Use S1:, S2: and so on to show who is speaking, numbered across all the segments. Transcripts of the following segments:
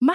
S1: ما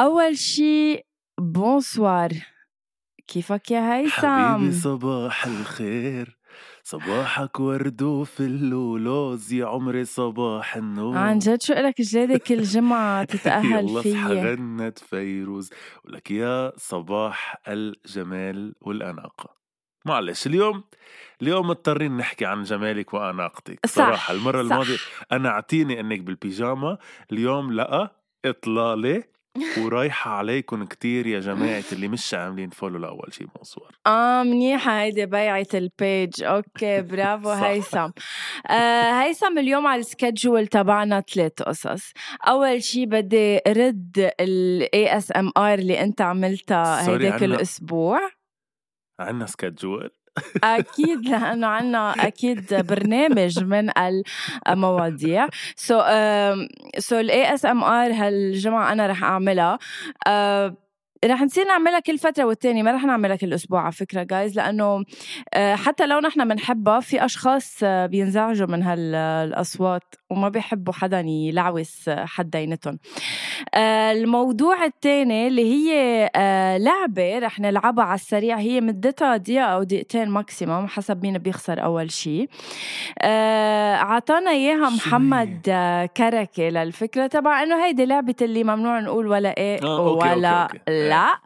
S1: أول شي بونسوار كيفك يا هيثم؟
S2: حبيبي صباح الخير صباحك ورد وفل ولوز يا عمري صباح النور
S1: عن جد شو إلك جلادة كل جمعة تتأهل
S2: يلا اصحى
S1: فيي
S2: غنت فيروز ولك يا صباح الجمال والأناقة معلش اليوم اليوم مضطرين نحكي عن جمالك وأناقتك
S1: صح،
S2: صراحة المرة
S1: صح.
S2: الماضية أنا أعطيني أنك بالبيجاما اليوم لأ إطلالة ورايحة عليكم كتير يا جماعة اللي مش عاملين فولو لأول شي منصور
S1: اه منيحة هيدي بيعة البيج اوكي برافو
S2: صح.
S1: هيثم آه هيثم اليوم على السكجول تبعنا ثلاث قصص اول شي بدي رد الاي اس ام ار اللي انت عملتها
S2: Sorry،
S1: هيداك
S2: عنا-
S1: الاسبوع
S2: عنا سكادجول
S1: اكيد لانه عنا اكيد برنامج من المواضيع سو سو الاي اس ام ار هالجمعه انا رح اعملها آه، رح نصير نعملها كل فترة والتانية ما رح نعملها كل أسبوع على فكرة جايز لأنه آه، حتى لو نحن بنحبها في أشخاص آه، بينزعجوا من هالأصوات وما بيحبوا حدا يلعوس آه، حد دينتهم آه، الموضوع الثاني اللي هي آه، لعبة رح نلعبها على السريع هي مدتها دقيقة أو دقيقتين ماكسيموم حسب مين بيخسر أول شيء عطانا إياها
S2: شو
S1: محمد آه، كركي للفكرة تبع إنه هيدي لعبة اللي ممنوع نقول ولا إيه
S2: آه، أوكي، أوكي،
S1: ولا
S2: أوكي. إيه.
S1: لا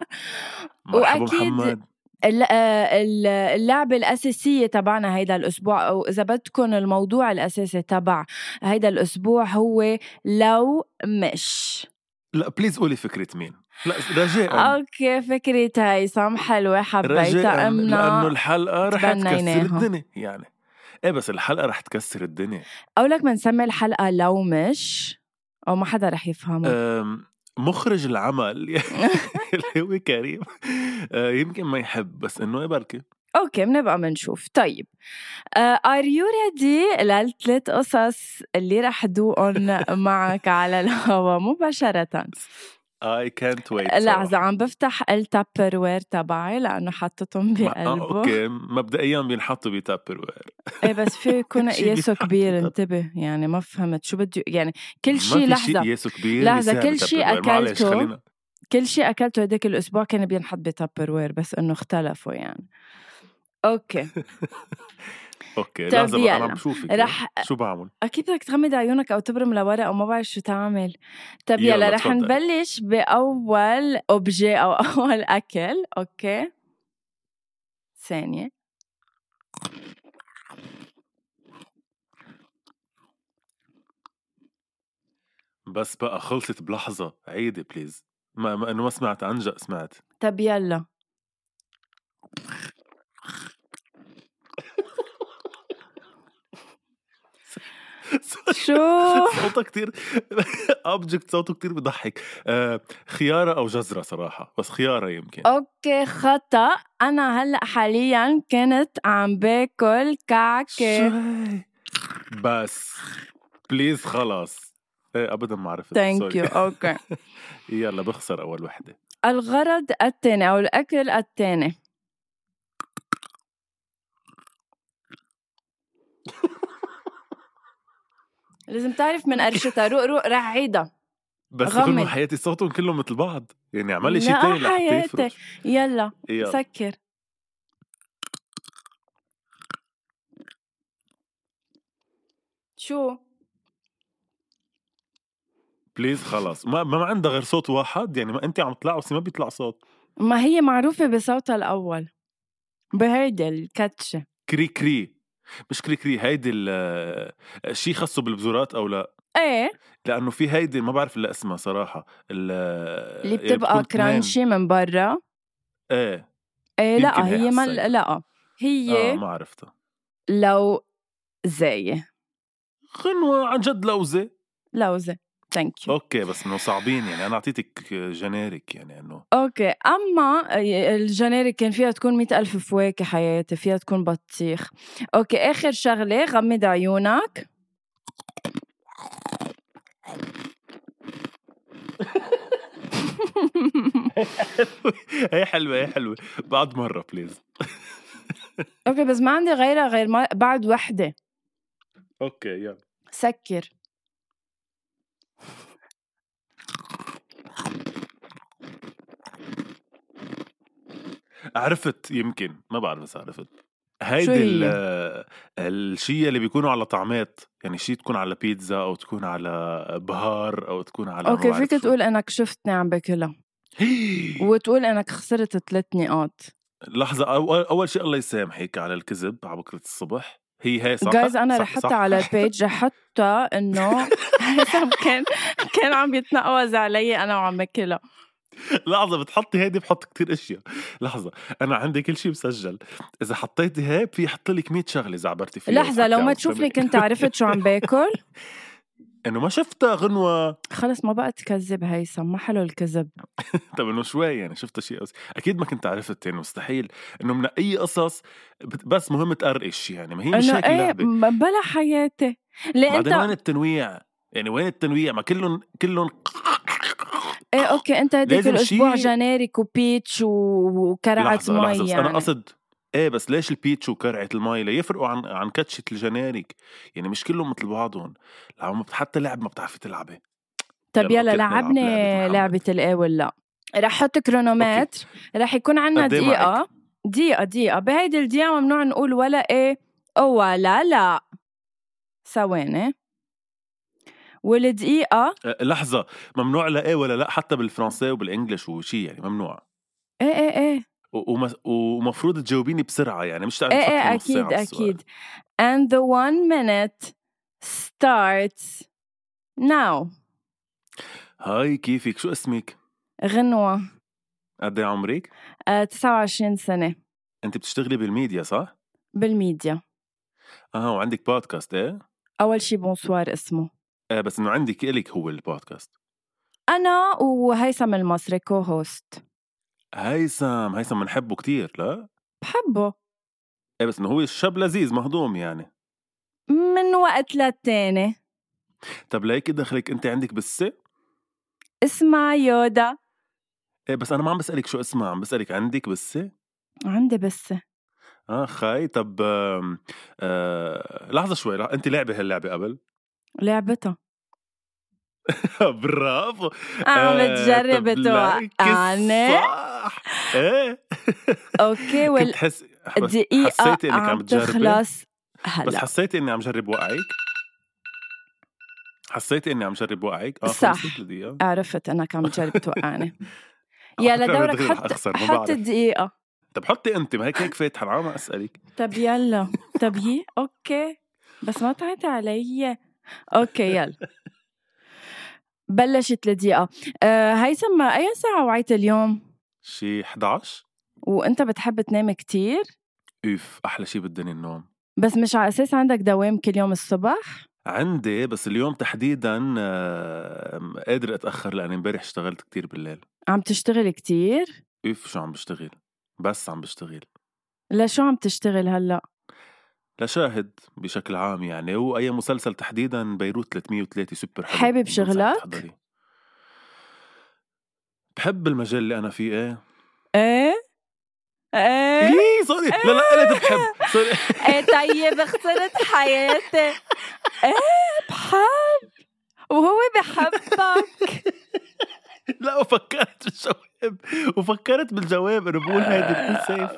S2: مرحبا
S1: وأكيد
S2: محمد
S1: ال- آه، ال- اللعبة الأساسية تبعنا هيدا الأسبوع أو إذا بدكم الموضوع الأساسي تبع هيدا الأسبوع هو لو مش
S2: لا بليز قولي فكرة مين لا رجاء
S1: اوكي فكرة هيثم حلوة حبيتها
S2: رجاء لانه
S1: امنا
S2: الحلقه رح تكسر
S1: تبنيناها.
S2: الدنيا يعني ايه بس الحلقه رح تكسر الدنيا
S1: او لك بنسمي الحلقة لو مش او ما حدا رح يفهمه
S2: أم، مخرج العمل اللي هو كريم أه، يمكن ما يحب بس انه إيه بركي
S1: اوكي بنبقى بنشوف طيب ار يو ريدي للثلاث قصص اللي رح دوقن معك على الهوا
S2: إيه،
S1: مباشرة
S2: اي كانت ويت
S1: لحظة عم بفتح التابروير تبعي لأنه حطتهم بقلبه
S2: اوكي مبدئيا آه، بينحطوا بتابر
S1: ايه بس في يكون
S2: كل شي
S1: قياسه
S2: بيتحط
S1: كبير
S2: بتاب-
S1: انتبه يعني ما فهمت شو بده يعني كل شيء لحظة
S2: ياسو كبير
S1: لحظة،
S2: يساعد
S1: كل شي
S2: Tupperware. معلش،
S1: أكلته.
S2: خلينا
S1: كل شيء اكلته هداك الاسبوع كان بينحط بتابروير بس انه اختلفوا يعني اوكي
S2: اوكي
S1: طب
S2: لحظه بقى، انا
S1: يلا.
S2: عم بشوفك
S1: رح
S2: شو بعمل
S1: اكيد بدك تغمض عيونك او تبرم لورا او ما بعرف شو تعمل طب
S2: يلا،
S1: يلا رح
S2: تفضلي.
S1: نبلش باول اوبجي او اول اكل اوكي ثانية
S2: بس بقى خلصت بلحظه عيدي بليز ما ما- انه ما سمعت عنجا سمعت
S1: طب يلا شو
S2: صوتها كتير اوبجكت صوته كتير بضحك آه، خيارة أو جزرة صراحة بس خيارة يمكن
S1: اوكي خطأ انا هلا حاليا كنت عم باكل كعكة
S2: شوي. بس بليز خلاص ايه ابدا ما عرفت
S1: ثانك
S2: Sorry.
S1: يو اوكي
S2: يلا بخسر اول وحده
S1: الغرض الثاني او الاكل الثاني لازم تعرف من قرشتها روق روق رح عيدها
S2: بس
S1: غمض.
S2: كلهم حياتي صوتهم كلهم مثل بعض يعني اعملي شيء
S1: لا
S2: تاني لحتى
S1: حياتي.
S2: يفرق
S1: يلا
S2: يلا
S1: سكر شو
S2: بليز خلص ما ما عندها غير صوت واحد يعني ما انت عم تلعصي ما بيطلع صوت
S1: ما هي معروفة بصوتها الأول بهيدا الكاتشة
S2: كري كري مش كري كري هيدي ال- آه، شي خصو بالبزورات او لا
S1: ايه
S2: لانه في هيدي ما بعرف الا اسمها صراحه ال-
S1: اللي
S2: يعني بتكون
S1: بتبقى
S2: اثنين.
S1: كرانشي من برا
S2: ايه
S1: ايه
S2: يمكن
S1: لا
S2: هي
S1: هي ما
S2: حسيتها.
S1: لا هي
S2: اه
S1: آه
S2: ما عرفتها
S1: لو زي
S2: غنوه عن جد لوزه
S1: لوزة ثانك يو
S2: اوكي بس انه صعبين يعني انا اعطيتك جينيريك يعني انه
S1: اوكي اما الجنيريك كان فيها تكون مئة ألف فواكه حياتي فيها تكون بطيخ اوكي اخر شغلة غمض عيونك
S2: هي حلوه هي حلوه بعد مره بليز
S1: اوكي بس ما عندي غيرها غير ما بعد وحدة
S2: اوكي يلا
S1: سكر
S2: عرفت يمكن ما بعرف اذا عرفت
S1: شو
S2: هيدي
S1: هي؟
S2: ال- الشيء اللي بيكونوا على طعمات يعني شيء تكون على بيتزا او تكون على بهار او تكون على ما
S1: اوكي
S2: بعرف
S1: فيك
S2: شو.
S1: تقول انك شفتني عم باكلها وتقول انك خسرت ثلاث نقاط
S2: لحظه أول, اول شيء الله يسامحك على الكذب على بكره الصبح هي هي صح
S1: جايز انا
S2: صح-
S1: رح
S2: صح؟
S1: على البيج حتى انه هيثم كان كان عم يتنقوز علي انا وعم باكلها
S2: لحظة بتحطي هيدي بحط كتير اشياء لحظة انا عندي كل شيء مسجل اذا حطيتي هيك في يحط لك 100 شغلة اذا عبرتي فيها
S1: لحظة لو
S2: وحكي
S1: ما
S2: عن
S1: تشوفني
S2: سمك.
S1: كنت عرفت شو عم باكل
S2: انه ما شفتها غنوة
S1: خلص ما بقى تكذب هيثم ما حلو الكذب
S2: طب انه شوي يعني شفتها شيء أوس... اكيد ما كنت عرفت يعني مستحيل انه من اي قصص بت- بس مهم تقرقش يعني ما هي مش
S1: انه
S2: هيك
S1: ايه
S2: اللعبة
S1: م- بلا حياتي ليه
S2: بعدين وين
S1: انت
S2: التنويع يعني وين التنويع ما كلهم كلهم
S1: ايه اوكي انت هديك
S2: لازم
S1: الاسبوع
S2: شي-
S1: جنيريك وبيتش و- وكرعة
S2: لحظة
S1: مي
S2: لحظة بس
S1: يعني
S2: أنا قصد إيه بس ليش البيتشو وكرعة المي ليفرقوا عن عن كاتشة الجناريك يعني مش كلهم مثل بعضهم لعم حتى لعب ما بتعرفي تلعبي
S1: طب
S2: يلا
S1: يلا
S2: كلنا نلعب
S1: لعبنا
S2: لعبة محمد.
S1: لعبة الايه ولا رح احط كرونومتر رح يكون عنا
S2: قد إيه
S1: دقيقة دقيقة دقيقة بهيدي الدقيقة ممنوع نقول ولا ايه ولا لا ثواني والدقيقة
S2: أه، لحظة ممنوع لا إيه ولا لا حتى بالفرنسي وبالإنجليش وشي يعني ممنوع
S1: ايه ايه ايه
S2: و- وم- ومفروض تجاوبيني بسرعة يعني مش تعرفي
S1: ايه
S2: تفكري
S1: ايه
S2: نص ساعة
S1: اكيد
S2: بالسؤال.
S1: اكيد and the one minute starts now
S2: هاي كيفك شو اسمك؟
S1: غنوة
S2: قد إيه عمرك؟
S1: آه، 29 سنة
S2: أنت بتشتغلي بالميديا صح؟
S1: بالميديا
S2: أها وعندك بودكاست إيه؟
S1: أول شي بونسوار اسمه
S2: إيه بس إنه عندك إلك هو البودكاست
S1: أنا وهيثم المصري كو هوست
S2: هيثم هيثم بنحبه كتير لا؟
S1: بحبه
S2: إيه بس إنه هو الشاب لذيذ مهضوم يعني
S1: من وقت للتاني
S2: طب ليك دخلك انت عندك بسه؟
S1: اسمها يودا
S2: ايه بس انا ما عم بسالك شو اسمها عم بسالك عندك بسه؟
S1: عندي بس
S2: اه خاي طب آم، آه لحظه شوي لح- انت لعبه هاللعبه قبل؟
S1: لعبتها
S2: برافو
S1: عم
S2: آه،
S1: بتجرب
S2: طب لك
S1: توقعني
S2: صح ايه
S1: اوكي
S2: كنت حس بس
S1: والدقيقة
S2: حسيتي انك عم
S1: عم
S2: تجربي
S1: تخلص
S2: بس
S1: هلا
S2: حسيتي اني عم جرب وقعك حسيتي اني عم جرب وقعك اه
S1: صح.
S2: خلصت الدقيقه
S1: عرفت انك عم تجرب توقعني
S2: على
S1: يلا
S2: فكرة أنا
S1: دورك
S2: دغري رح
S1: حط
S2: أخسر، ما
S1: حط
S2: بعرف.
S1: الدقيقة
S2: طب حطي انت ما هيك هيك فاتحه أنا عم اسالك
S1: طب يلا طب هي اوكي بس ما تعيطي علي اوكي يلا بلشت الدقيقة أه هيثم أي ساعة وعيت اليوم؟
S2: شي 11
S1: وأنت بتحب تنام كتير
S2: اوف احلى شي بالدنيا النوم
S1: بس مش على أساس عندك دوام كل يوم الصبح؟
S2: عندي بس اليوم تحديدا آه، قادر اتاخر لاني امبارح اشتغلت كتير بالليل
S1: عم تشتغل كتير؟
S2: اوف شو عم بشتغل بس عم بشتغل
S1: لشو عم تشتغل هلأ؟
S2: لشاهد بشكل عام يعني واي مسلسل تحديدا بيروت 303 سوبر حلو
S1: حابب
S2: بنصحك
S1: شغلك؟
S2: تحضريه. بحب المجال اللي انا فيه ايه
S1: إيه؟ إيه؟
S2: إيه، سوري لا لا قلت بحب سوري
S1: إيه طيب خسرت حياتي إيه بحب وهو بحبك
S2: لا وفكرت بالجواب وفكرت بالجواب انه بقول هيدي بكون سيف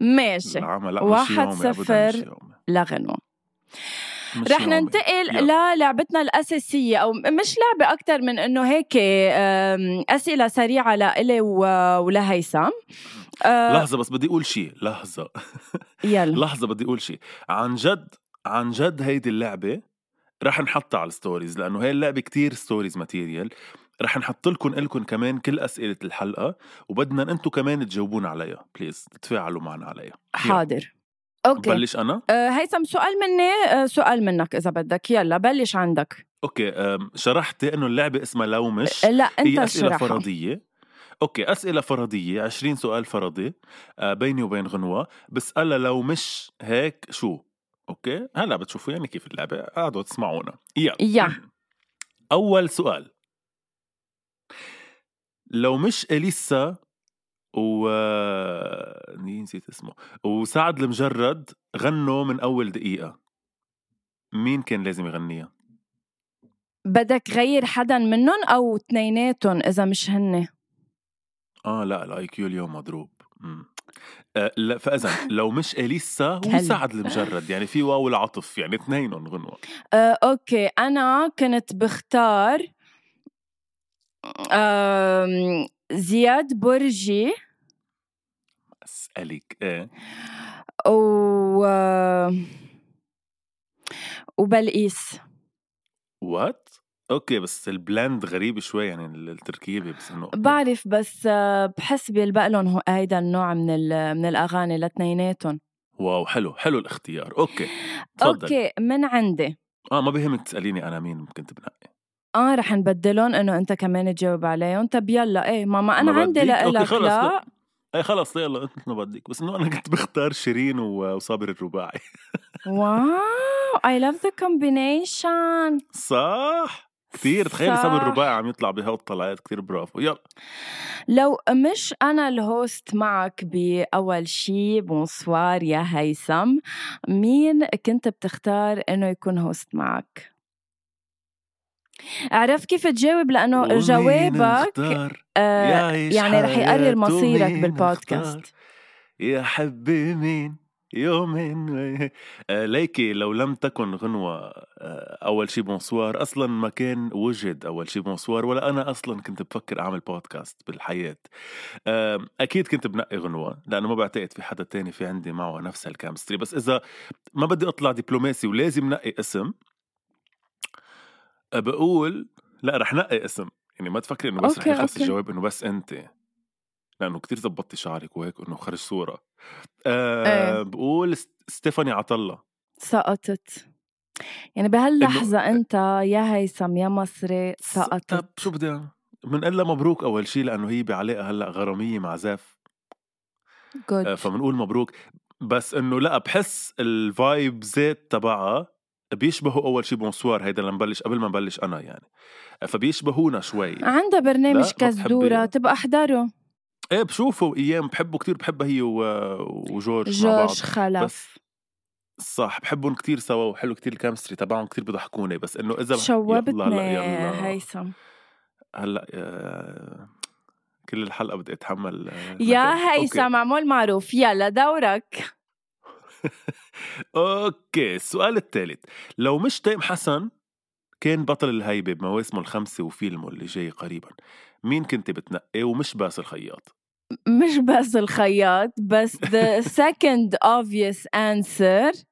S1: ماشي
S2: العمى لا مش
S1: واحد
S2: يومي أبداً، مش
S1: صفر.
S2: يومي.
S1: لغنوة
S2: مش
S1: رح
S2: يومي.
S1: ننتقل
S2: يلا.
S1: للعبتنا الأساسية أو مش لعبة أكتر من إنه هيك أم، أسئلة سريعة لإلي و- ولهيثم أه،
S2: لحظة بس بدي أقول شيء لحظة
S1: يلا
S2: لحظة بدي أقول شيء عن جد عن جد هيدي اللعبة رح نحطها على الستوريز لأنه هي اللعبة كتير ستوريز ماتيريال رح نحط لكم إلكم كمان كل أسئلة الحلقة وبدنا أنتم كمان تجاوبون عليها بليز تفاعلوا معنا عليها
S1: حاضر أوكي
S2: بلش أنا
S1: أه، هيثم سؤال مني أه، سؤال منك إذا بدك يلا بلش عندك
S2: أوكي أم، شرحتي إنه اللعبة اسمها لو مش
S1: لا أنت
S2: هي أسئلة
S1: اشرحها
S2: فرضية اوكي اسئله فرضيه 20 سؤال فرضي آه، بيني وبين غنوه بسالها لو مش هيك شو اوكي هلا بتشوفوا يعني كيف اللعبه قعدوا تسمعونا يلا
S1: يا
S2: اول سؤال لو مش اليسا و آه، نسيت اسمه وسعد المجرد غنوا من اول دقيقه مين كان لازم يغنيها
S1: بدك غير حدا منهم أو تنيناتهم إذا مش هن
S2: اه لا الاي كيو اليوم مضروب مم. آه لا فاذا لو مش اليسا
S1: كلب.
S2: وسعد المجرد يعني في واو العطف يعني اثنينهم غنوه
S1: أه، اوكي انا كنت بختار أم، زياد برجي
S2: اسالك ايه
S1: و وبلقيس
S2: وات اوكي بس البلاند غريب شوي يعني ال- التركيبه بس انه
S1: بعرف بس أه، بحس بيلبق لهم هيدا النوع من ال- من الاغاني لتنيناتهم
S2: واو حلو حلو الاختيار اوكي تفضل
S1: اوكي من عندي
S2: اه ما بيهمك تساليني انا مين ممكن تبنقي
S1: اه رح نبدلهم انه انت كمان تجاوب عليهم طب يلا ايه ماما انا
S2: يعني ما
S1: عندي
S2: بديك؟ أوكي،
S1: لك
S2: خلص،
S1: لا
S2: لا. ايه خلص يلا انت ما بدك بس انه انا كنت بختار شيرين و- وصابر الرباعي
S1: واو اي لاف ذا كومبينيشن
S2: صح كثير تخيل صابر الرباعي عم يطلع بهالطلعات كثير برافو يلا
S1: لو مش أنا الهوست معك بأول شي بونسوار يا هيثم مين كنت بتختار إنه يكون هوست معك؟ أعرف كيف تجاوب لأنه
S2: ومين
S1: جوابك
S2: نختار؟
S1: آه
S2: يعيش
S1: يعني رح يقرر
S2: حياته
S1: مصيرك
S2: مين اختار؟
S1: بالبودكاست
S2: يا حبي مين يوم و- آه، ليكي لو لم تكن غنوة آه، أول شي بونسوار أصلا ما كان وجد أول شي بونسوار ولا أنا أصلا كنت بفكر أعمل بودكاست بالحياة آم، أكيد كنت بنقي غنوة لأنه ما بعتقد في حدا تاني في عندي معه نفس الكامستري بس إذا ما بدي أطلع دبلوماسي ولازم نقي اسم آه، بقول لا رح نقي اسم يعني ما تفكري انه بس رح
S1: أوكي،
S2: يخلص
S1: أوكي.
S2: الجواب انه بس انت لانه كتير زبطتي شعرك وهيك انه خرج صوره
S1: إيه.
S2: آه بقول س- ستيفاني عطلة
S1: سقطت يعني بهاللحظة أنت يا هيثم يا مصري سقطت
S2: طب شو بدي أعمل؟ بنقول لها مبروك اول شيء لانه هي بعلاقه هلا غراميه مع زاف آه،
S1: جود
S2: فبنقول مبروك بس انه لا بحس الفايب زيت تبعها بيشبهوا اول شيء بونسوار هيدا لما نبلش قبل ما نبلش انا يعني آه، فبيشبهونا شوي
S1: عندها برنامج
S2: لا، ما بحب
S1: كزدورة
S2: إياه.
S1: تبقى أحضره
S2: ايه بشوفه ايام بحبه كتير بحبها هي و... وجورج مع بعض
S1: جورج خلف
S2: بس صح بحبهم كتير سوا وحلو كتير الكيمستري تبعهم كتير بضحكوني بس انه اذا بح- يلا
S1: شوبتني
S2: هلا يلا
S1: هيثم
S2: هلا آه، كل الحلقه بدي اتحمل آه، مكانك.
S1: يا
S2: أوكي.
S1: هيثم معمول معروف يلا دورك
S2: اوكي السؤال الثالث لو مش تيم حسن كان بطل الهيبه بمواسمه الخمسه وفيلمه اللي جاي قريبا مين كنت بتنقي ومش باسل الخياط
S1: مش بس الخياط بس the second obvious answer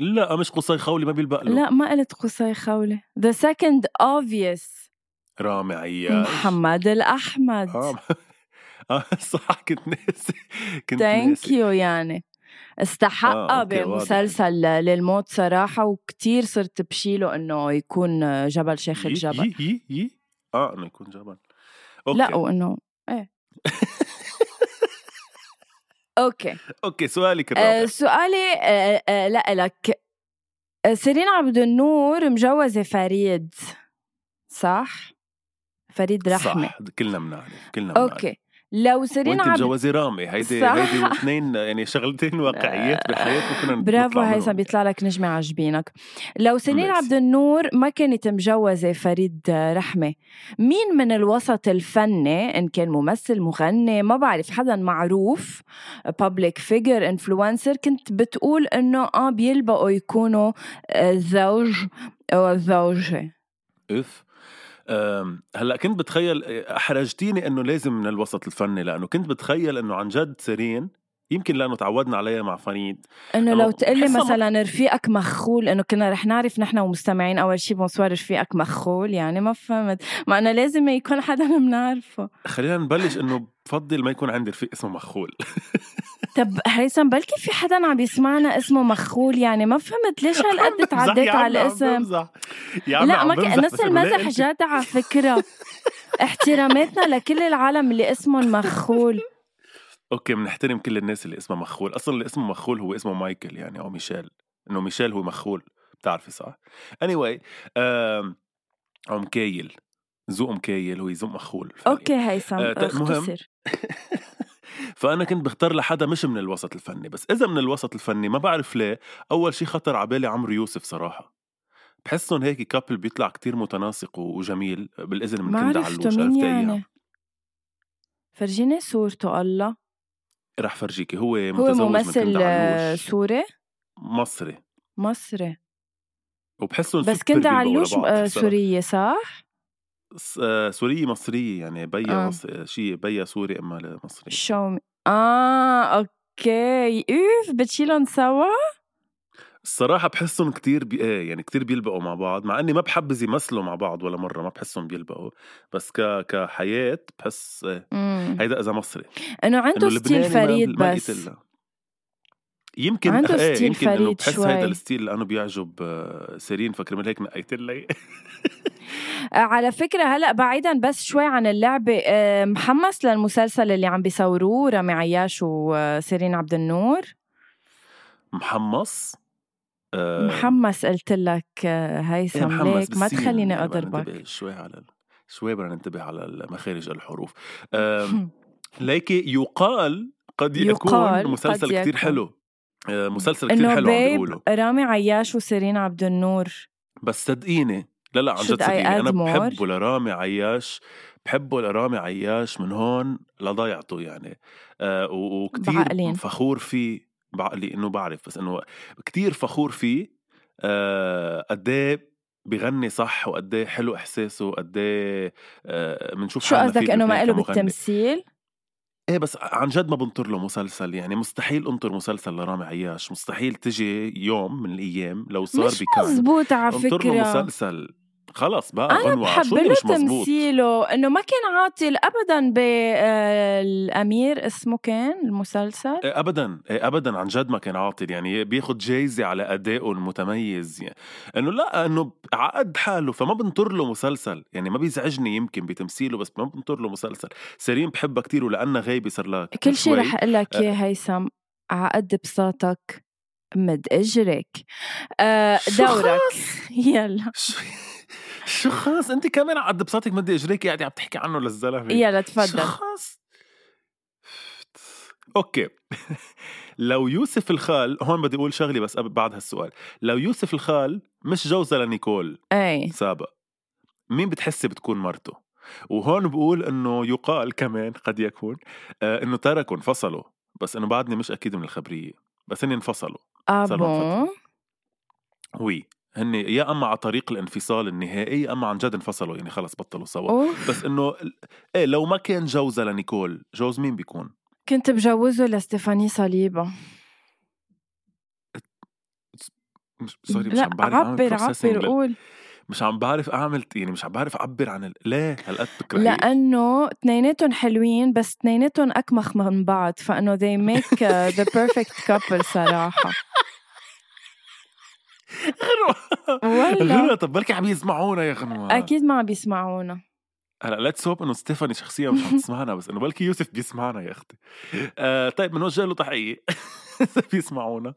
S2: لا مش قصي خولي ما بيلبق له
S1: لا ما قلت قصي خولة the second obvious
S2: رامي عياش
S1: محمد الأحمد
S2: آه، آه، صح كنت ناسي كنت
S1: ثانك
S2: ناسي
S1: you يعني
S2: آه،
S1: استحقها
S2: أوكي، واضح.
S1: بمسلسل للموت صراحة وكتير صرت بشيله إنه يكون جبل شيخ
S2: يي-
S1: الجبل
S2: يي يي يي اه انه يكون جبل اوكي
S1: لا وإنه إيه أوكي
S2: اوكي سؤالك
S1: آه،
S2: الرابع
S1: سؤالي آه، آه، لإلك آه، سيرين عبد النور مجوزة فريد صح؟ فريد رحمة
S2: صح كلنا بنعرف كلنا بنعرف
S1: اوكي لو سيرين
S2: وانت
S1: عبد
S2: مجوزه رامي هيدي
S1: صح.
S2: هيدي اثنين يعني شغلتين واقعيات بحياتنا كنا
S1: برافو
S2: نطلع
S1: هيثم
S2: منهم.
S1: بيطلع لك نجمة عجبينك لو سنين
S2: ميرسي.
S1: عبد النور ما كانت مجوزة فريد رحمة مين من الوسط الفني إن كان ممثل مغني ما بعرف حدا معروف public figure influencer كنت بتقول إنه آه بيلبقوا يكونوا آه، زوج أو زوجة
S2: اف أم، هلا كنت بتخيل احرجتيني انه لازم من الوسط الفني لانه كنت بتخيل انه عن جد سيرين يمكن لانه تعودنا عليها مع فريد
S1: انه
S2: أنا
S1: لو تقلي
S2: بحسها ما-
S1: مثلا رفيقك مخول انه كنا رح نعرف نحن ومستمعين اول شيء بونسوار رفيقك مخول يعني ما فهمت ما انا لازم يكون حدا بنعرفه
S2: خلينا نبلش انه بفضل ما يكون عندي رفيق اسمه مخول
S1: طب هيثم بلكي في حدا عم يسمعنا اسمه مخول يعني ما فهمت ليش هالقد تعديت
S2: يا عمي،
S1: على
S2: عم
S1: الاسم
S2: بمزح. يا عمي،
S1: لا
S2: عم
S1: ما ك...
S2: بمزح، بس
S1: نص
S2: إنه
S1: المزح
S2: ليه
S1: جاد على فكره احتراماتنا لكل العالم اللي اسمهم مخول
S2: اوكي بنحترم كل الناس اللي اسمها مخول اصلا اللي اسمه مخول هو اسمه مايكل يعني او ميشيل انه ميشيل هو مخول بتعرفي صح anyway آم، ام كايل زو ام كايل هو زو مخول فعلياً.
S1: اوكي هيثم
S2: آه، طيب، مهم.
S1: اختصر
S2: فانا كنت بختار لحدا مش من الوسط الفني بس اذا من الوسط الفني ما بعرف ليه اول شي خطر على بالي عمرو يوسف صراحه بحسهم هيك كابل بيطلع كتير متناسق و- وجميل بالاذن من
S1: ما
S2: كندا
S1: عرفته
S2: علوش
S1: مين
S2: عرفت أيام.
S1: يعني فرجيني صورته الله
S2: رح فرجيكي هو
S1: هو
S2: متزوج من
S1: ممثل
S2: كندا
S1: آه،
S2: علوش
S1: سوري
S2: مصري
S1: مصري
S2: وبحسهم
S1: بس
S2: سوبر
S1: كندا
S2: بيلبقوا
S1: علوش
S2: لبعض
S1: آه،
S2: صراحة.
S1: سورية صح؟
S2: س- آه، سورية مصرية يعني بيا
S1: آه.
S2: آه. مص... شي بيا سوري اما مصري
S1: شو اه اوكي اوف بتشيلهم سوا
S2: الصراحة بحسهم كتير بي... إيه، يعني كتير بيلبقوا مع بعض مع اني ما بحبز يمثلوا مع بعض ولا مرة ما بحسهم بيلبقوا بس ك... كحياة بحس إيه،
S1: مم.
S2: هيدا اذا مصري
S1: انه عنده
S2: انه
S1: ستيل
S2: لبناني ما-
S1: فريد
S2: ما
S1: بس
S2: لقيت إلا. يمكن
S1: عنده
S2: إيه،
S1: ستيل
S2: يمكن إنه
S1: فريد
S2: بحس
S1: شوي.
S2: هيدا الستيل لانه بيعجب آه، سيرين فكرمال هيك نقيت لي
S1: آه، على فكرة هلا بعيدا بس شوي عن اللعبة آه، محمس للمسلسل اللي عم بيصوروه رامي عياش وسيرين عبد النور
S2: محمص آه،
S1: محمس قلت لك آه،
S2: إيه
S1: هيثم
S2: محمد
S1: ليك ما
S2: بالسين
S1: تخليني
S2: يعني بدنا
S1: أضربك
S2: ننتبه شوي على ال... شوي بدنا ننتبه على مخارج الحروف أم، ليكي يقال قد
S1: يقال
S2: يكون
S1: قد
S2: مسلسل كتير
S1: يكون.
S2: حلو أه، مسلسل كتير
S1: إنه
S2: حلو عم
S1: بيب
S2: بيقولوا
S1: رامي عياش وسيرين عبد النور
S2: بس صدقيني لا لا عن
S1: Should
S2: جد
S1: I
S2: صدقيني انا
S1: add more؟
S2: بحبه لرامي عياش بحبه لرامي عياش من هون لضيعته يعني أه، و-
S1: بعقلين.
S2: وكتير فخور فيه بعقلي انه بعرف بس انه كتير فخور فيه آه، قد ايه بيغني صح وقد ايه حلو احساسه وقد ايه بنشوف
S1: شو قصدك إنه ما
S2: له
S1: قاله بالتمثيل؟
S2: ايه بس عن جد ما بنطر له مسلسل يعني مستحيل انطر مسلسل لرامي عياش مستحيل تجي يوم من الايام لو صار
S1: مش
S2: بكان
S1: مزبوط على
S2: انطر له
S1: فكرة
S2: مسلسل خلص بقى
S1: انا
S2: غنوة
S1: بحب
S2: عاشوري
S1: له
S2: مش مزبوط
S1: تمثيله انه ما كان عاطل ابدا بالامير اسمه كان المسلسل
S2: إيه ابدا إيه ابدا عن جد ما كان عاطل يعني بياخد جايزه على ادائه المتميز يعني انه لا انه عقد حاله فما بنطر له مسلسل يعني ما بيزعجني يمكن بتمثيله بس ما بنطر له مسلسل سيرين بحبها كتير ولانها غايبه صار لها
S1: كل شيء
S2: شوي.
S1: رح اقول لك اياه هيثم على قد بساطك مد اجرك آه،
S2: شو
S1: دورك يلا
S2: شو شو خاص انت كمان على قد بساطك مدي اجريك قاعده عم تحكي عنه للزلمه
S1: يلا
S2: شو
S1: تفضل
S2: خاص اوكي لو يوسف الخال هون بدي اقول شغلي بس قبل- بعد هالسؤال لو يوسف الخال مش جوزها لنيكول
S1: اي
S2: سابق مين بتحسي بتكون مرته وهون بقول انه يقال كمان قد يكون آه انه تركوا انفصلوا بس انه بعدني مش اكيد من الخبريه بس هن انفصلوا
S1: آه،
S2: صار لهم
S1: ابو
S2: وي هن يا اما على طريق الانفصال النهائي يا اما عن جد انفصلوا يعني خلص بطلوا سوا بس انه ايه لو ما كان جوزها لنيكول جوز مين بيكون
S1: كنت بجوزه لستيفاني صليبه
S2: مش سوري مش
S1: لا
S2: عم بعرف اعمل
S1: عبر
S2: processing
S1: عبر
S2: لل-
S1: قول
S2: مش عم بعرف اعمل يعني مش عم بعرف اعبر عن ال... ليه هالقد بتكرهيه
S1: لانه اثنيناتهم حلوين بس اثنيناتهم اكمخ من بعض فانه they make uh, the perfect couple صراحه
S2: غنوة
S1: والله
S2: طب بركي عم يسمعونا يا غنوة
S1: اكيد ما عم بيسمعونا
S2: هلا ليتس هوب انه ستيفاني شخصيا مش عم تسمعنا بس انه بلكي يوسف بيسمعنا يا اختي آه طيب بنوجه له تحقيق اذا بيسمعونا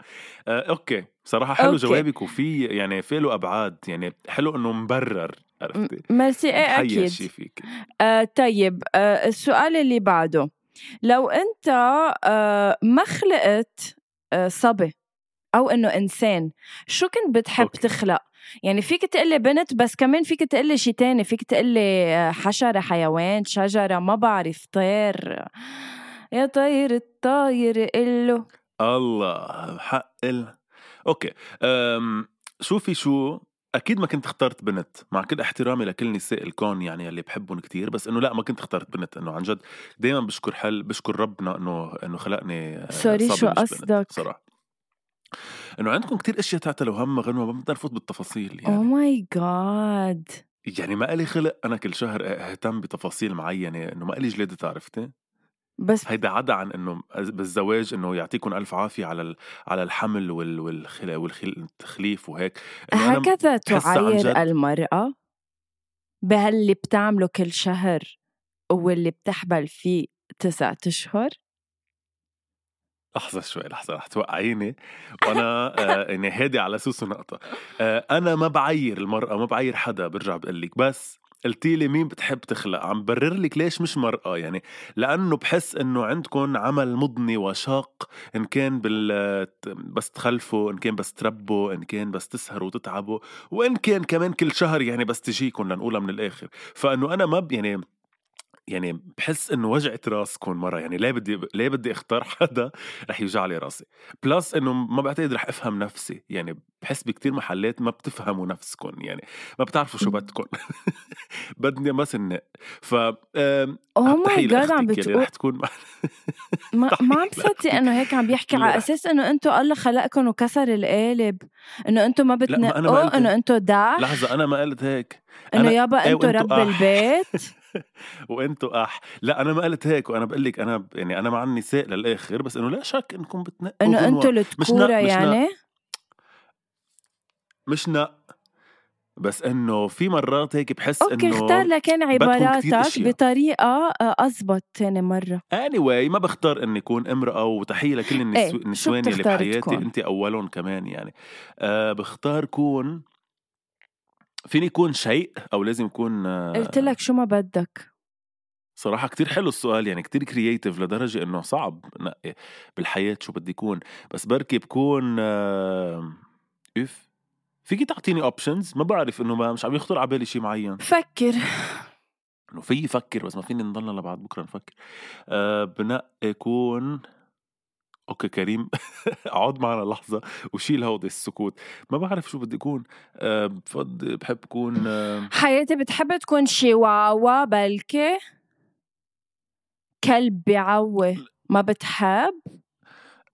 S2: آه اوكي بصراحه حلو
S1: أوكي.
S2: جوابك وفي يعني في له ابعاد يعني حلو انه مبرر عرفتي
S1: ميرسي ايه
S2: محير
S1: اكيد
S2: شي فيك
S1: آه طيب آه السؤال اللي بعده لو انت آه، ما خلقت آه، صبي او انه انسان شو كنت بتحب
S2: أوكي.
S1: أوكي. تخلق يعني فيك تقلي بنت بس كمان فيك تقلي شي تاني فيك تقلي آه، حشرة حيوان شجرة ما بعرف طير يا طير الطاير قله
S2: آه، الله حق ال... اوكي أم... شوفي شو اكيد ما كنت اخترت بنت مع كل احترامي لكل نساء الكون يعني اللي بحبهم كتير بس انه لا ما كنت اخترت بنت انه عن جد دائما بشكر حل بشكر ربنا انه انه خلقني آه،
S1: سوري،
S2: صبي
S1: شو
S2: مش بنت،
S1: قصدك؟
S2: صراحه انه عندكم كتير اشياء تعتلوا همها غنوه ما بقدر افوت بالتفاصيل
S1: او
S2: يعني
S1: ماي جاد
S2: يعني ما إلي خلق انا كل شهر اهتم بتفاصيل معينه انه ما إلي جلاده عرفتي
S1: بس
S2: هيدا عدا عن انه بالزواج انه يعطيكم الف عافيه على ال- على الحمل وال والخلا- والتخليف وهيك إنه يعني أنا
S1: هكذا
S2: بحسها عن جد-
S1: تعاير المرأة بهاللي بتعمله كل شهر واللي بتحبل فيه تسعة أشهر
S2: لحظه شوي لحظه رح توقعيني وانا آه اني هادي على سوسو نقطه آه انا ما بعير المراه ما بعير حدا برجع بقول لك بس قلتي لي مين بتحب تخلق عم برر لك ليش مش مرأة يعني لأنه بحس إنه عندكم عمل مضني وشاق إن كان بال بس تخلفوا إن كان بس تربوا إن كان بس تسهروا وتتعبوا وإن كان كمان كل شهر يعني بس تجيكم لنقولها من الآخر فإنه أنا ما ب- يعني يعني بحس انه وجعت راسكم مره يعني ليه بدي ليه بدي اختار حدا رح يوجع لي راسي بلس انه ما بعتقد رح افهم نفسي يعني بحس بكتير محلات ما بتفهموا نفسكم يعني ما بتعرفوا شو بدكم بدني ما سنق ف آم،
S1: او ماي
S2: تحية
S1: جاد Oh عم
S2: لأختك يلي
S1: بتقول
S2: رح تكون مع-
S1: ما, ما عم
S2: تحية
S1: صدق انه هيك عم بيحكي
S2: لا.
S1: على اساس انه انتم الله خلقكم وكسر القالب انه انتم ما Oh،
S2: أنا ما قلت
S1: بتنقوا انه
S2: هيك.
S1: انتم دع
S2: لحظه انا ما قلت هيك
S1: انه
S2: أنا-
S1: يابا
S2: إيه،
S1: انتم
S2: وأنتو
S1: رب
S2: أح.
S1: البيت
S2: وانتوا اح لا انا ما قلت هيك وانا بقول لك انا ب- يعني انا مع النساء للاخر بس انه لا شك انكم بتنقوا
S1: انه
S2: غنوة.
S1: انتم التكوره
S2: مش نق-
S1: يعني
S2: مش نق بس انه في مرات هيك بحس
S1: اوكي
S2: انه
S1: اختار لكان
S2: بدكم كتير
S1: عباراتك
S2: أشياء.
S1: بطريقه آه، ازبط تاني مره
S2: اني anyway ما بختار اني اكون امراه وتحيه لكل النسو...
S1: إيه، شو
S2: النسوان اللي
S1: بتختار
S2: بحياتي
S1: تكون؟
S2: انت اولهم كمان يعني آه بختار كون فيني يكون شيء او لازم يكون آه،
S1: قلت لك شو ما بدك
S2: صراحه كتير حلو السؤال يعني كتير كرييتيف لدرجه انه صعب نقي بالحياه شو بدي يكون بس بركي بكون آه... اف فيكي تعطيني اوبشنز ما بعرف انه ما مش عم يخطر على بالي شيء معين
S1: فكر
S2: انه في يفكر بس ما فيني نضلنا لبعد بكره نفكر أه بنقي يكون اوكي كريم اقعد معنا لحظه وشيل هودي السكوت ما بعرف شو بدي اكون أه بفض بحب اكون أه
S1: حياتي بتحب تكون شيواوا بلكي كلب بيعوي ما بتحب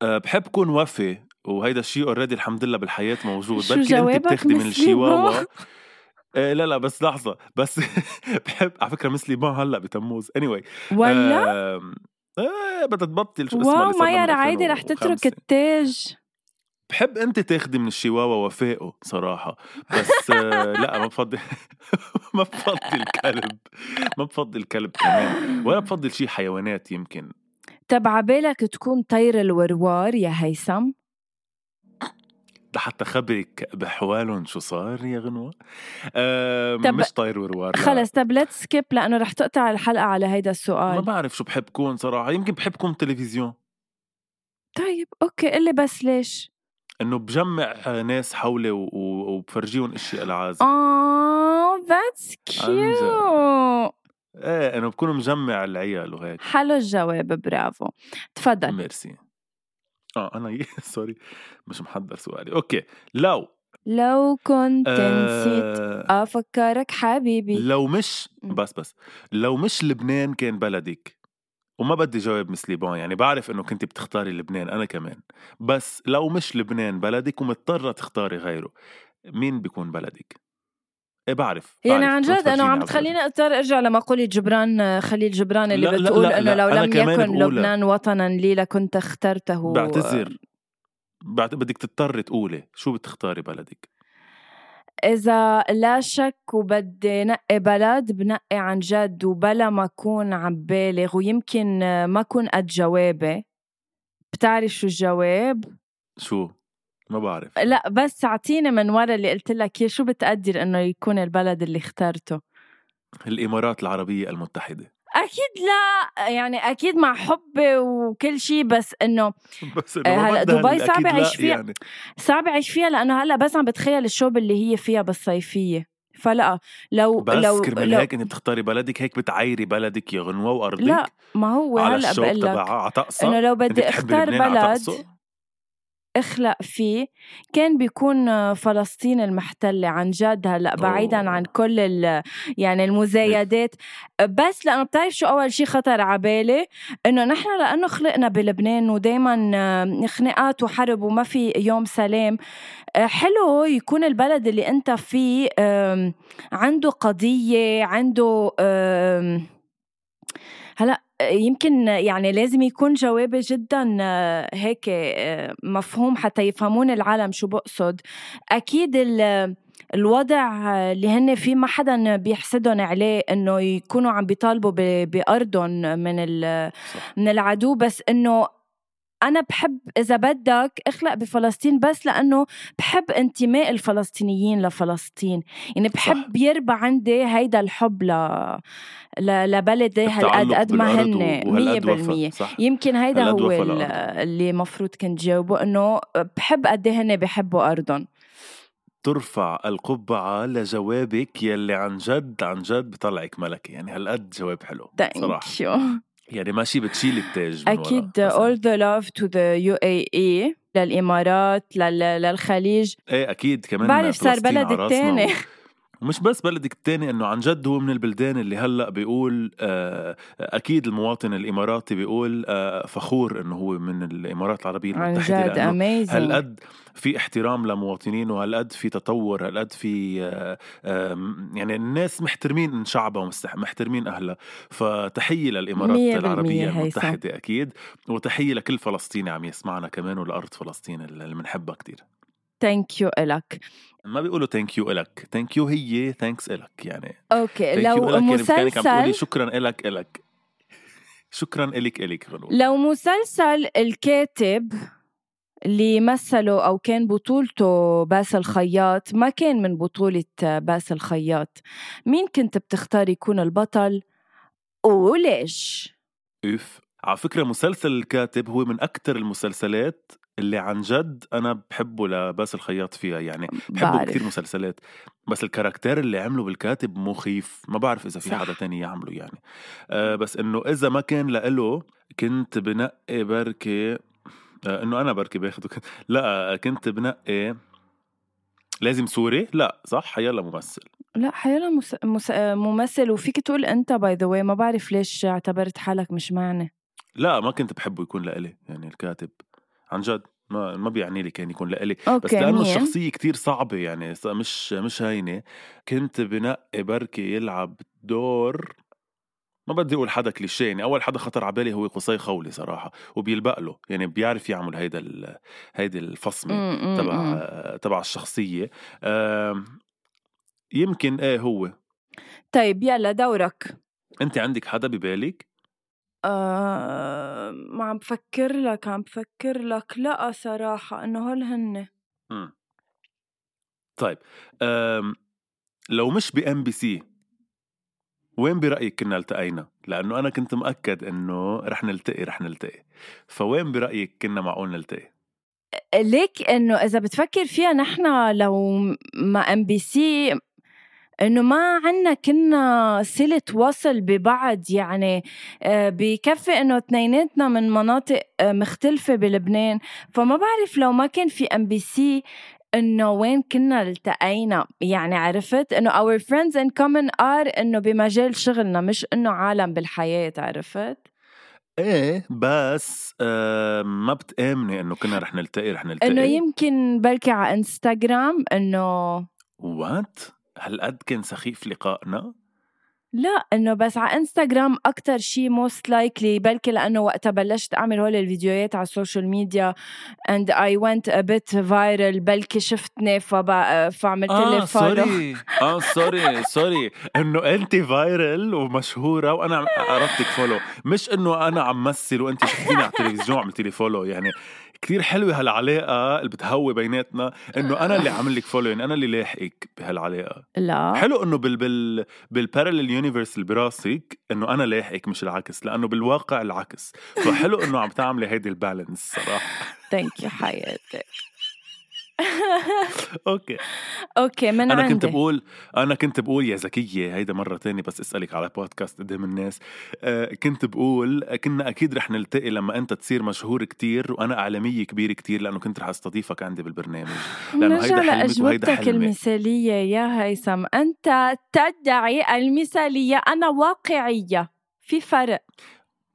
S2: آه، بحب اكون وفي وهيدا الشيء اوريدي الحمد لله بالحياه موجود
S1: شو
S2: بركي انت
S1: جوابك
S2: بتاخدي من
S1: مثلي
S2: الشيواوا
S1: ما؟
S2: آه، لا لا بس لحظه بس بحب على فكره مثلي ما هلا بتموز اني anyway.
S1: ولا
S2: آم، آه بدها تبطل شو اسمها
S1: واو
S2: اللي صرنا
S1: مايا
S2: من
S1: رعايدي رح
S2: 2005.
S1: تترك التاج
S2: بحب انت تاخدي من الشيواوا وفائه صراحه بس آه، لا ما بفضل ما بفضل كلب ما بفضل كلب كمان ولا بفضل شيء حيوانات يمكن
S1: طب عبالك تكون طير الوروار يا هيثم
S2: لحتى خبرك بحوالهم شو صار يا غنوه آه
S1: طب-
S2: مش طاير وروار لا.
S1: خلص طيب. طب ليتس سكيب لانه رح تقطع الحلقه على هيدا
S2: ما
S1: السؤال
S2: بعرف شو بحب كون صراحه يمكن بحب كون تلفزيون
S1: طيب اوكي قلي بس ليش
S2: انه بجمع آه، ناس حولي و- و- وبفرجيهم اشياء العازم
S1: آه. اه ذاتس
S2: عن
S1: كيوت
S2: ايه انه بكون مجمع العيال وهيك
S1: حلو الجواب برافو تفضل
S2: ميرسي اه انا سوري مش محضر سؤالي اوكي لو
S1: لو كنت نسيت
S2: آه
S1: افكرك حبيبي
S2: لو مش
S1: م.
S2: بس بس لو مش لبنان كان بلدك وما بدي جاوب مثل لبنان يعني بعرف انه كنت بتختاري لبنان انا كمان بس لو مش لبنان بلدك ومضطره تختاري غيره مين بيكون بلدك؟ ايه بعرف
S1: يعني
S2: بعرف،
S1: عن
S2: ما
S1: جد انه
S2: تفرجيني
S1: عم
S2: على
S1: تخليني اضطر ارجع لمقوله جبران آه، خليل جبران اللي
S2: لا، لا،
S1: بتقول
S2: لا،
S1: انه
S2: لا،
S1: لو
S2: أنا
S1: لم
S2: كمان
S1: يكن
S2: بقولها.
S1: لبنان وطنا لي لكنت اخترته
S2: بلدك. بعتذر بعت... بدك تضطري تقولي شو بتختاري بلدك؟
S1: إذا لا شك وبدي نقي بلد بنقي عن جد وبلا ما أكون عم بالغ ويمكن آه، ما أكون قد جوابي بتعرف شو الجواب؟
S2: شو؟ ما بعرف
S1: لا بس أعطيني من ورا اللي قلت لك إياه، شو بتقدر إنه يكون البلد اللي اخترته؟
S2: الامارات العربيه المتحده
S1: اكيد لا يعني اكيد مع حبي وكل شيء بس انه
S2: بس إنه ما
S1: هلا
S2: بدها
S1: آه، دبي
S2: هلا
S1: صعب
S2: أكيد لا
S1: أعيش فيها.
S2: يعني
S1: صعب اعيش فيها لانه هلا بس عم بتخيل الشوب اللي هي فيها بالصيفيه فلا لو
S2: بس
S1: لو
S2: كرمال
S1: لو
S2: هيك انت بتختاري بلدك هيك بتعايري بلدك يا غنوه وارضك
S1: لا ما هو
S2: على
S1: هلا
S2: الشوب
S1: بقول لك
S2: تبعها على طقسها
S1: انه لو
S2: انت
S1: بدي
S2: بتحبي
S1: اختار
S2: لبنان على
S1: بلد
S2: طقسه
S1: اخلق فيه كان بيكون آه، فلسطين المحتلة عن جد هلا بعيدا
S2: أوه.
S1: عن كل ال يعني المزايدات بس لانه بتعرف شو اول شيء خطر على بالي انه نحن لانه خلقنا بلبنان ودائما خناقات وحرب وما في يوم سلام آه، حلو يكون البلد اللي انت فيه آم، عنده قضية عنده آم، هلا يمكن يعني لازم يكون جوابي جدا آه، هيك آه، مفهوم حتى يفهمون العالم شو بقصد اكيد ال الوضع اللي هن فيه ما حدا بيحسدهم عليه انه يكونوا عم بيطالبوا ب- بارضهم من ال-
S2: صح
S1: من العدو بس انه انا بحب اذا بدك اخلق بفلسطين بس لانه بحب انتماء الفلسطينيين لفلسطين يعني بحب
S2: صح.
S1: صح. يربى عندي هيدا الحب ل... ل... لبلدي هالقد
S2: التعلق
S1: قد ما
S2: بالأرض
S1: هن
S2: وهالقد وفا
S1: 100%
S2: صح
S1: يمكن هيدا
S2: هالقد
S1: هو
S2: وفى
S1: ال-
S2: لأرضه.
S1: اللي مفروض كنت جاوبه انه بحب قد إيه هن بحبوا ارضهم
S2: ترفع القبعة لجوابك يلي عن جد عن جد بطلعك ملكة يعني هالقد جواب حلو صراحة
S1: ثانك يو
S2: يعني ماشي بتشيل التاج من
S1: اكيد
S2: ورا مثلاً.
S1: all the love to the UAE للامارات لل... للخليج
S2: ايه اكيد كمان
S1: بعرف صار
S2: فلسطين
S1: بلد
S2: على راسنا
S1: التاني.
S2: و- ومش بس بلدك الثاني انه عن جد هو من البلدان اللي هلا بيقول آه، اكيد المواطن الاماراتي بيقول آه، فخور انه هو من الامارات العربيه
S1: عن
S2: المتحده
S1: جد
S2: لانه
S1: amazing
S2: هالقد في احترام لمواطنين وهالقد في تطور هالقد في آه، آم، يعني الناس محترمين شعبها ومحترمين اهلها فتحيه للامارات
S1: 100%
S2: العربيه
S1: هيثم
S2: المتحده اكيد وتحيه لكل فلسطيني عم يسمعنا كمان ولارض فلسطين اللي بنحبها كثير
S1: ثانك يو الك
S2: ما بيقولوا ثانك يو الك ثانك يو هي ثانكس الك يعني
S1: اوكي
S2: ثانك يو
S1: لو
S2: الك يعني كانك عم تقولي
S1: مسلسل
S2: شكرا الك الك شكرا الك الك غنوة
S1: لو مسلسل الكاتب اللي مثله او كان بطولته باسل الخياط ما كان من بطولة باسل الخياط مين كنت بتختار يكون البطل وليش؟
S2: اوف على فكرة مسلسل الكاتب هو من أكتر المسلسلات اللي عن جد أنا بحبه لباس الخياط فيها يعني بحبه بكثير
S1: بعرف
S2: مسلسلات بس الكاركتير اللي عمله بالكاتب مخيف ما بعرف إذا في حدا
S1: صح
S2: تاني يعمله يعني أه بس إنه إذا ما كان لإله كنت بنقي بركي أه إنه أنا بركي باخده كنت لا كنت بنقي لازم سوري لا صح حيلا ممثل
S1: لا حيلا مس... مس... ممثل وفيك تقول انت باي ذا واي ما بعرف ليش اعتبرت حالك مش معني
S2: لا ما كنت بحبه يكون لإلي يعني الكاتب عن جد ما ما بيعني لي كان يكون لإلي بس
S1: اوكي مين؟
S2: لأنه الشخصية كتير صعبة يعني ص- مش مش هينة كنت بنقي بركي يلعب دور ما بدي أقول حدا كليشيه يعني أول حدا خطر على بالي هو قصي خولي صراحة وبيلبق له يعني بيعرف يعمل هيدا ال... هيدي الفصمة
S1: م- م-
S2: تبع
S1: م.
S2: تبع الشخصية آم، يمكن إيه هو
S1: طيب يلا دورك
S2: أنت عندك حدا ببالك؟
S1: آه ما عم بفكر لك عم بفكر لك لا صراحة انه هول هن
S2: مم. طيب أم... لو مش بام بي سي وين برأيك كنا التقينا؟ لأنه أنا كنت مأكد إنه رح نلتقي رح نلتقي فوين برأيك كنا معقول نلتقي؟
S1: ليك انه اذا بتفكر فيها نحن لو ما ام بي سي انه ما عنا كنا صلة وصل ببعض يعني آه، بكفي انه اتنيناتنا من مناطق آه، مختلفة بلبنان فما بعرف لو ما كان في ام بي سي انه وين كنا التقينا يعني عرفت انه our friends in common are انه بمجال شغلنا مش انه عالم بالحياة عرفت
S2: ايه بس آه ما بتآمني انه كنا رح نلتقي رح
S1: انه
S2: نلتقي
S1: يمكن بركي على انستغرام انه
S2: وات هالقد كان سخيف لقائنا
S1: لا انه بس على انستغرام اكتر شيء موست لايكلي بلكي لانه وقتها بلشت اعمل هول الفيديوهات على السوشيال ميديا اند اي ونت ا بيت فايرل بلكي شفتني فبقى فعملت لي
S2: اه
S1: فولو
S2: سوري اه سوري سوري انه انت فايرل ومشهوره وانا عم- عرفتك فولو مش انه انا عم مثل وانت شفتيني على التلفزيون وعملتي لي فولو يعني كثير حلوه هالعلاقه اللي بتهوي بيناتنا انه انا اللي عامل لك فولوين انا اللي لاحقك بهالعلاقه
S1: لا
S2: حلو انه بال بال بالبارلل يونيفرس اللي براسك انه انا لاحقك مش العكس لانه بالواقع العكس فحلو انه عم تعملي هيدي البالانس صراحه
S1: ثانك يو حياتي
S2: اوكي
S1: اوكي من
S2: انا
S1: عندي
S2: كنت بقول انا كنت بقول يا ذكيه هيدا مره تانية بس اسالك على بودكاست قدام الناس آه كنت بقول كنا اكيد رح نلتقي لما انت تصير مشهور كتير وانا اعلاميه كبيره كتير لانه كنت رح استضيفك عندي بالبرنامج لأنه
S1: نرجع
S2: هيدا حلمك وهيدا
S1: لأجوبتك
S2: حلمي.
S1: المثالية يا هيثم أنت تدعي المثالية أنا واقعية في فرق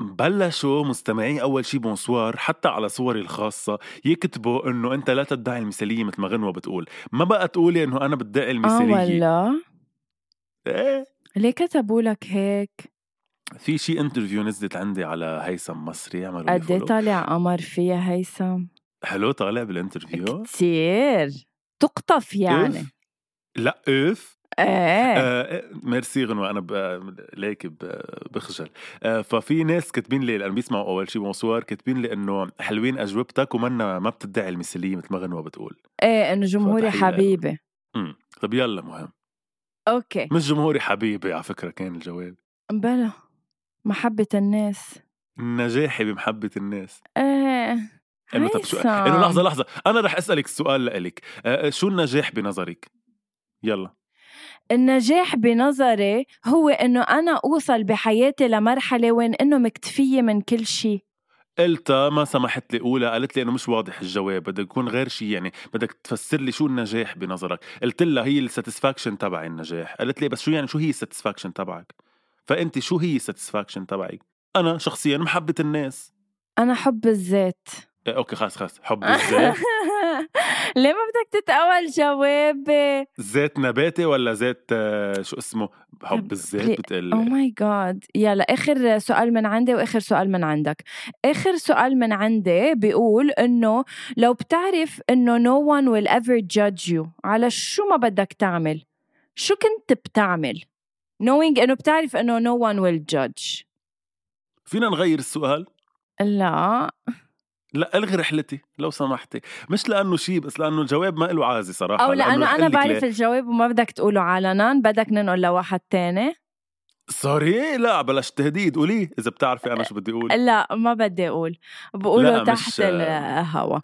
S2: بلشوا مستمعي اول شي بونسوار حتى على صوري الخاصه يكتبوا انه انت لا تدعي المثاليه مثل ما غنوه بتقول ما بقى تقولي انه انا بدعي
S1: آه
S2: المثاليه
S1: والله
S2: إيه.
S1: ليه كتبوا لك هيك؟
S2: في شي انترفيو نزلت عندي على هيثم مصري عملوا لي
S1: قد إيه
S2: follow.
S1: طالع قمر فيها هيثم؟
S2: حلو طالع بالانترفيو
S1: كتير تقطف يعني
S2: أوف. لا اف
S1: ايه
S2: آه ميرسي غنوة انا ب- ليك ب- بخجل آه ففي ناس كاتبين لي لانه بيسمعوا اول شي بونسوار كاتبين لي انه حلوين اجوبتك ومنا ما بتدعي المثاليه مثل ما غنوه بتقول
S1: ايه انه جمهوري
S2: فتحية لهم.
S1: حبيبي
S2: امم طب يلا مهم
S1: اوكي
S2: مش جمهوري حبيبي على فكرة كان الجواب
S1: بلا محبة الناس
S2: نجاحي بمحبة الناس
S1: ايه
S2: انه إيه، طب شو
S1: هيثم.
S2: انه لحظة لحظة انا رح اسألك السؤال لإلك آه، شو النجاح بنظرك؟ يلا
S1: النجاح بنظري هو انه انا اوصل بحياتي لمرحله وين انه مكتفيه من كل شيء
S2: قلتها ما سمحت لي اقولها قالت لي انه مش واضح الجواب بده يكون غير شيء يعني بدك تفسر لي شو النجاح بنظرك قلت لها هي الساتسفاكشن تبعي النجاح قالت لي بس شو يعني شو هي الساتسفاكشن تبعك فانت شو هي الساتسفاكشن تبعك انا شخصيا محبة الناس
S1: انا حب الذات
S2: آه، اوكي خلاص خلاص حب الذات
S1: ليه ما بدك تتأول جواب
S2: زيت نباتي ولا زيت آه، شو اسمه
S1: طب
S2: حب
S1: ليه-
S2: الزيت
S1: او
S2: بتقل
S1: ماي جاد Oh يلا اخر سؤال من عندي واخر سؤال من عندك اخر سؤال من عندي بيقول انه لو بتعرف انه no one will ever judge you على شو ما بدك تعمل شو كنت بتعمل knowing انه بتعرف انه no one will judge
S2: فينا نغير السؤال
S1: لا
S2: لا الغي رحلتي لو سمحتي مش لانه شيء بس لانه الجواب ما له عازي صراحه
S1: او لانه
S2: رح
S1: انا
S2: قلك
S1: بعرف
S2: ليه.
S1: الجواب وما بدك تقوله علنا بدك ننقل لواحد تاني
S2: سوري لا بلاش تهديد قولي اذا بتعرفي انا شو بدي اقول
S1: لا ما بدي اقول بقوله
S2: لا، مش-
S1: تحت الهوا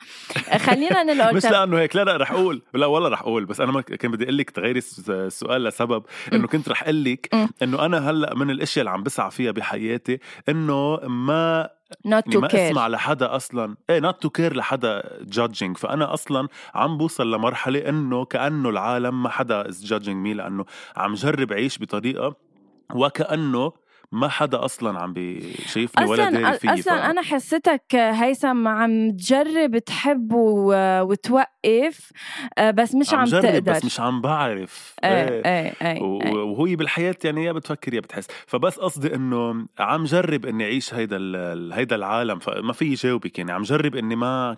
S1: خلينا ننقل
S2: مش
S1: تب-
S2: لانه هيك لا لا رح اقول لا والله رح اقول بس انا ما ك- كان بدي اقول لك تغيري الس- السؤال لسبب انه كنت رح اقول لك
S1: م.
S2: انه انا هلا من الاشياء اللي عم بسعى فيها بحياتي انه ما
S1: not
S2: يعني
S1: to
S2: ما
S1: care
S2: اسمع لحدا اصلا ايه نوت تو كير لحدا جادجينج فانا اصلا عم بوصل لمرحله انه كانه العالم ما حدا از جادجينج مي لانه عم جرب اعيش بطريقه وكانه ما حدا اصلا عم بيشايفني ولا
S1: اصلا
S2: داري فيي
S1: اصلا
S2: ف-
S1: انا حسيتك هيثم عم تجرب تحب و- وتوقف آه، بس مش عم,
S2: جرب
S1: تقدر
S2: بس مش عم بعرف إيه.
S1: ايه ايه ايه
S2: و- وهي بالحياه يعني يا بتفكر يا بتحس فبس قصدي انه عم جرب اني اعيش هيدا ال- هيدا العالم فما في جاوبك يعني عم جرب اني ما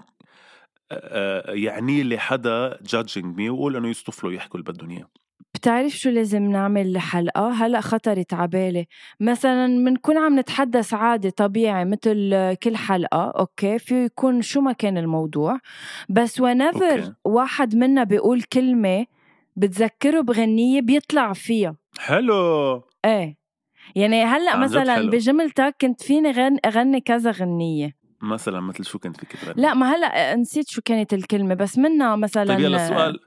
S2: آه، يعني لي حدا جادجينج مي وقول انه يصطفلوا يحكوا اللي بدهم اياه
S1: بتعرف شو لازم نعمل لحلقة؟ هلا خطرت عبالي، مثلا بنكون عم نتحدث عادي طبيعي مثل كل حلقة، اوكي؟ في يكون شو ما كان الموضوع، بس
S2: أوكي.
S1: ونفر واحد منا بيقول كلمة بتذكره بغنية بيطلع فيها،
S2: حلو
S1: ايه يعني هلا
S2: عن جد
S1: مثلا
S2: حلو.
S1: بجملتك كنت فيني غن اغني كذا غنية،
S2: مثلا مثل شو كنت فيك تغني
S1: لا ما هلا نسيت شو كانت الكلمة بس منا مثلا
S2: طيب يلا سؤال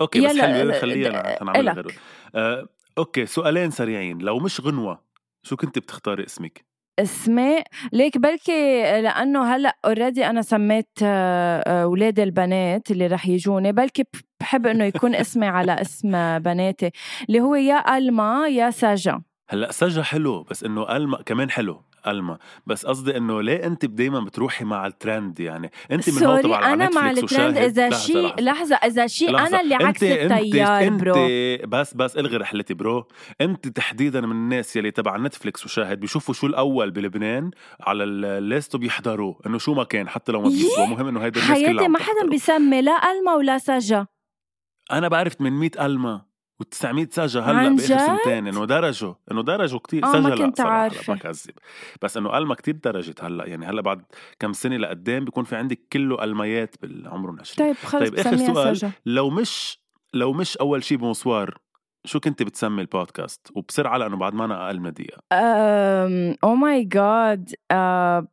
S2: اوكي بس
S1: يلا،
S2: حلو يلا
S1: آه،
S2: خليها أنا-
S1: آه،
S2: حنعمل
S1: إلك.
S2: غيره آه، اوكي سؤالين سريعين لو مش غنوه شو كنت بتختاري اسمك؟
S1: اسماء ليك بلكي لانه هلا اوريدي انا سميت آه، آه، اولاد البنات اللي رح يجوني بلكي ب- بحب انه يكون اسمي على اسم بناتي اللي هو يا الما يا سجا
S2: هلا سجا حلو بس انه الما كمان حلو الما بس قصدي انه ليه انت دايما بتروحي مع الترند يعني انت من هو
S1: سوري
S2: تبع على
S1: انا مع
S2: نتفليكس
S1: الترند
S2: وشاهد.
S1: اذا
S2: لحظة،
S1: شيء
S2: لحظة.
S1: لحظه اذا شيء
S2: لحظة.
S1: انا اللي عكس
S2: أنت-
S1: التيار
S2: انت
S1: برو
S2: بس بس الغي رحلتي برو انت تحديدا من الناس يلي تبع نتفليكس وشاهد بيشوفوا شو الاول بلبنان على الليست وبيحضروه انه شو ما كان حتى لو ما
S1: يي!
S2: بيسوى مهم انه هيدا الناس كلها
S1: حياتي
S2: عم
S1: ما حدا
S2: تحضره.
S1: بيسمي لا الما ولا سجا
S2: انا بعرف 800 الما و900 سجى هلا
S1: عن
S2: باخر
S1: جد؟
S2: سنتين انه درجوا انه درجوا كثير
S1: آه،
S2: سجى
S1: ما
S2: لا
S1: كنت
S2: صراحة،
S1: عارفة.
S2: ما كذب بس انه قلمة كثير درجت هلا يعني هلا بعد كم سنه لقدام بيكون في عندك كله قلميات بالعمر ال20
S1: طيب خلص
S2: طيب، آخر
S1: بسميها
S2: سؤال.
S1: سجى
S2: لو مش لو مش اول شيء بمصوار شو كنت بتسمي البودكاست وبسرعه لانه بعد ما انا اقل من دقيقه
S1: او ماي جاد آه،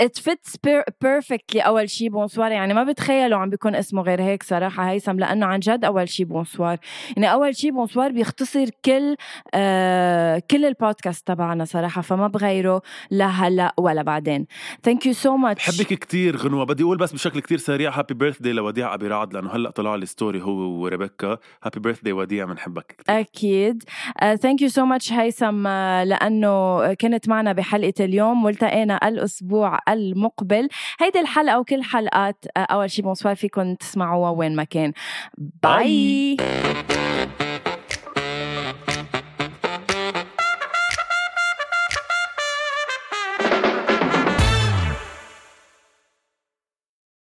S1: ات فيتس بيرفكتلي اول شي بونسوار يعني ما بتخيلوا عم بيكون اسمه غير هيك صراحه هيثم لانه عن جد اول شي بونسوار يعني اول شي بونسوار بيختصر كل آه كل البودكاست تبعنا صراحه فما بغيره لا هلا ولا بعدين ثانك يو سو ماتش
S2: بحبك كتير غنوه بدي اقول بس بشكل كتير سريع هابي بيرثدي لوديع ابي رعد لانه هلا طلع لي ستوري هو وريبيكا هابي بيرثدي وديع بنحبك كتير
S1: أكيد آه، ثانك يو سو ماتش هيثم آه، لأنه كنت معنا بحلقة اليوم والتقينا الأسبوع المقبل هيدي الحلقة وكل حلقات آه، أول شي بونسوار فيكم تسمعوها وين ما كان باي,
S2: باي.
S1: باي.